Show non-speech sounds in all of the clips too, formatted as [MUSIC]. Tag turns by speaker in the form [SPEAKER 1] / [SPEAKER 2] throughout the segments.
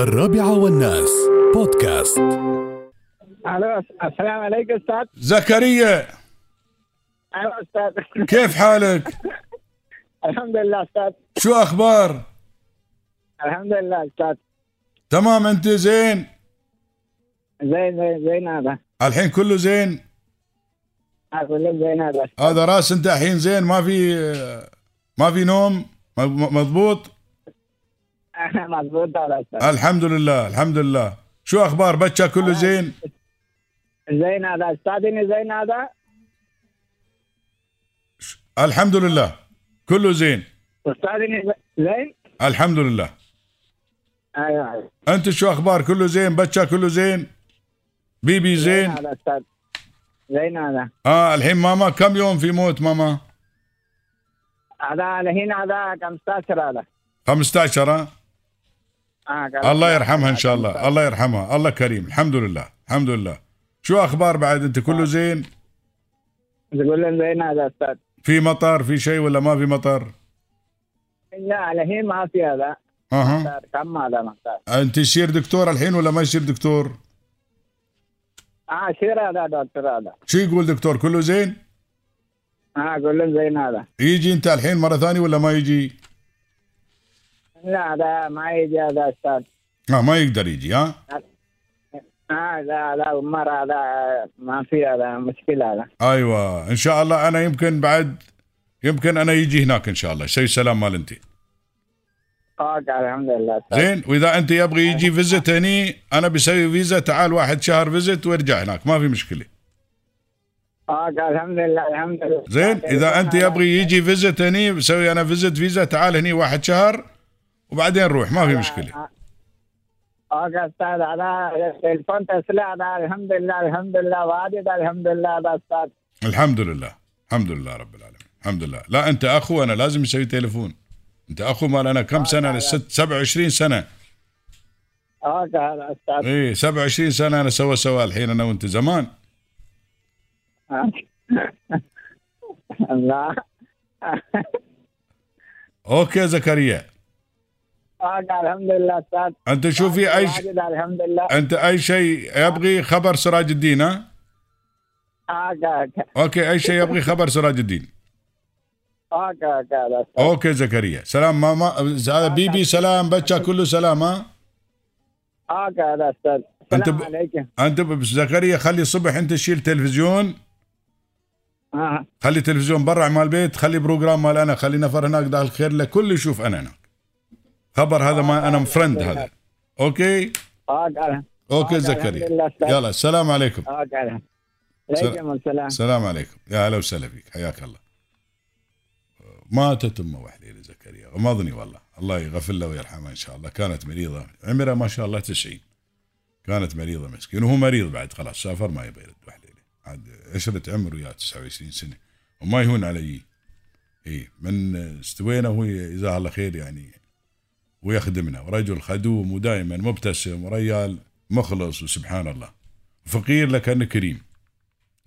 [SPEAKER 1] الرابعة والناس بودكاست
[SPEAKER 2] الو السلام عليكم استاذ
[SPEAKER 3] زكريا
[SPEAKER 2] الو استاذ
[SPEAKER 3] كيف حالك؟
[SPEAKER 2] [LAUGHS] الحمد لله استاذ
[SPEAKER 3] شو اخبار؟
[SPEAKER 2] الحمد لله استاذ
[SPEAKER 3] تمام انت زين؟
[SPEAKER 2] زين زين زين هذا
[SPEAKER 3] الحين كله زين؟
[SPEAKER 2] اقول لك زين هذا [LAUGHS]
[SPEAKER 3] هذا راس انت الحين زين ما في ما في نوم م- مضبوط؟
[SPEAKER 2] مضبوط هذا استاذ
[SPEAKER 3] الحمد لله الحمد لله شو اخبار بچا كله زين؟
[SPEAKER 2] زين هذا استاذ إني زين هذا
[SPEAKER 3] الحمد لله كله زين
[SPEAKER 2] استاذ إني ز- زين
[SPEAKER 3] الحمد لله
[SPEAKER 2] ايوه أيوة.
[SPEAKER 3] انت شو اخبار كله زين بچا كله زين؟ بيبي زين
[SPEAKER 2] هذا استاذ زين هذا
[SPEAKER 3] اه الحين ماما كم يوم في موت ماما؟
[SPEAKER 2] هذا الحين هذا 15 هذا
[SPEAKER 3] 15 ها؟
[SPEAKER 2] آه، قال-
[SPEAKER 3] الله يرحمها ان شاء الله الله يرحمها الله كريم الحمد لله الحمد لله شو اخبار بعد انت كله زين
[SPEAKER 2] تقول لهم زين هذا استاذ
[SPEAKER 3] في مطر في شيء ولا ما في مطر
[SPEAKER 2] لا الحين ما في هذا
[SPEAKER 3] اها
[SPEAKER 2] مختار. كم هذا مختار
[SPEAKER 3] انت يصير دكتور الحين ولا ما يصير دكتور
[SPEAKER 2] اه شير هذا دكتور هذا
[SPEAKER 3] شو يقول دكتور كله زين
[SPEAKER 2] اه اقول لهم زين هذا
[SPEAKER 3] يجي انت الحين مره ثانيه ولا ما يجي
[SPEAKER 2] لا هذا ما يجي هذا استاذ
[SPEAKER 3] اه ما يقدر يجي ها
[SPEAKER 2] هذا هذا عمر هذا ما في هذا مشكلة هذا
[SPEAKER 3] ايوه ان شاء الله انا يمكن بعد يمكن انا يجي هناك ان شاء الله شيء سلام مال انت
[SPEAKER 2] اوكي الحمد لله استاذ
[SPEAKER 3] زين واذا انت يبغي يجي فيزت هني انا بسوي فيزا تعال واحد شهر فيزت وارجع هناك ما في مشكله
[SPEAKER 2] اوكي الحمد لله الحمد لله
[SPEAKER 3] زين اذا انت يبغي يجي فيزت هني بسوي انا فيزت فيزا تعال هني واحد شهر وبعدين نروح ما في
[SPEAKER 2] Ah.
[SPEAKER 3] مشكله
[SPEAKER 2] اوكي استاذ هذا التليفون تسلا هذا الحمد لله الحمد لله واجد الحمد لله هذا استاذ
[SPEAKER 3] الحمد لله الحمد لله رب العالمين الحمد لله لا انت اخو انا لازم يسوي تليفون انت اخو مال انا كم سنه انا ست 27 سنه
[SPEAKER 2] اوكي هذا استاذ
[SPEAKER 3] اي 27 سنه انا سوا سوا الحين انا وانت زمان
[SPEAKER 2] Ah. [LAUGHS] لا
[SPEAKER 3] اوكي زكريا
[SPEAKER 2] اوكي الحمد لله استاذ
[SPEAKER 3] انت شوفي اي ش...
[SPEAKER 2] واجد الحمد لله
[SPEAKER 3] انت اي شيء يبغي خبر سراج الدين ها
[SPEAKER 2] اوكي اوكي
[SPEAKER 3] اوكي اي شيء يبغي خبر سراج الدين
[SPEAKER 2] اوكي اوكي هذا استاذ
[SPEAKER 3] اوكي زكريا سلام ماما هذا بيبي سلام بچا كله سلام ها
[SPEAKER 2] اوكي هذا استاذ
[SPEAKER 3] أنت
[SPEAKER 2] السلام
[SPEAKER 3] ب-
[SPEAKER 2] عليكم
[SPEAKER 3] انت بس زكريا خلي الصبح انت تشيل تلفزيون
[SPEAKER 2] اه
[SPEAKER 3] خلي تلفزيون برا مال البيت خلي بروجرام مال انا خلي نفر هناك داخل خير لك كله يشوف انا هناك خبر هذا ما انا مفرند هذا اوكي
[SPEAKER 2] اوكي
[SPEAKER 3] اوكي
[SPEAKER 2] آه، الحمد
[SPEAKER 3] زكريا
[SPEAKER 2] لله، السلام.
[SPEAKER 3] يلا السلام عليكم
[SPEAKER 2] اوكي عليكم السلام
[SPEAKER 3] السلام عليكم يا هلا وسهلا فيك حياك الله ماتت امه وحده لزكريا وما اظني والله الله يغفر له ويرحمه ان شاء الله كانت مريضه عمرها ما شاء الله 90 كانت مريضه مسكين وهو مريض بعد خلاص سافر ما يبي يرد وحده عاد عشرة عمر وياه 29 سنه وما يهون علي اي من استوينا وهو جزاه الله خير يعني ويخدمنا ورجل خدوم ودائما مبتسم وريال مخلص وسبحان الله فقير لكنه كريم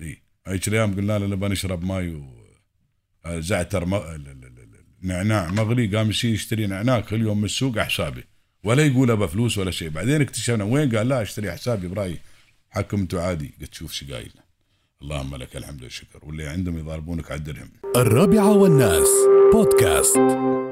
[SPEAKER 3] اي هيك الايام قلنا له نبغى نشرب ماي و آه، زعتر م... ال- ال- ال- ال- نعناع مغلي قام يصير يشتري نعناع كل يوم من السوق على حسابه ولا يقول ابى فلوس ولا شيء بعدين اكتشفنا وين قال لا اشتري على حسابي برايي حكمته عادي قلت شوف شو قايل اللهم لك الحمد والشكر واللي عندهم يضاربونك على الدرهم
[SPEAKER 1] الرابعة والناس بودكاست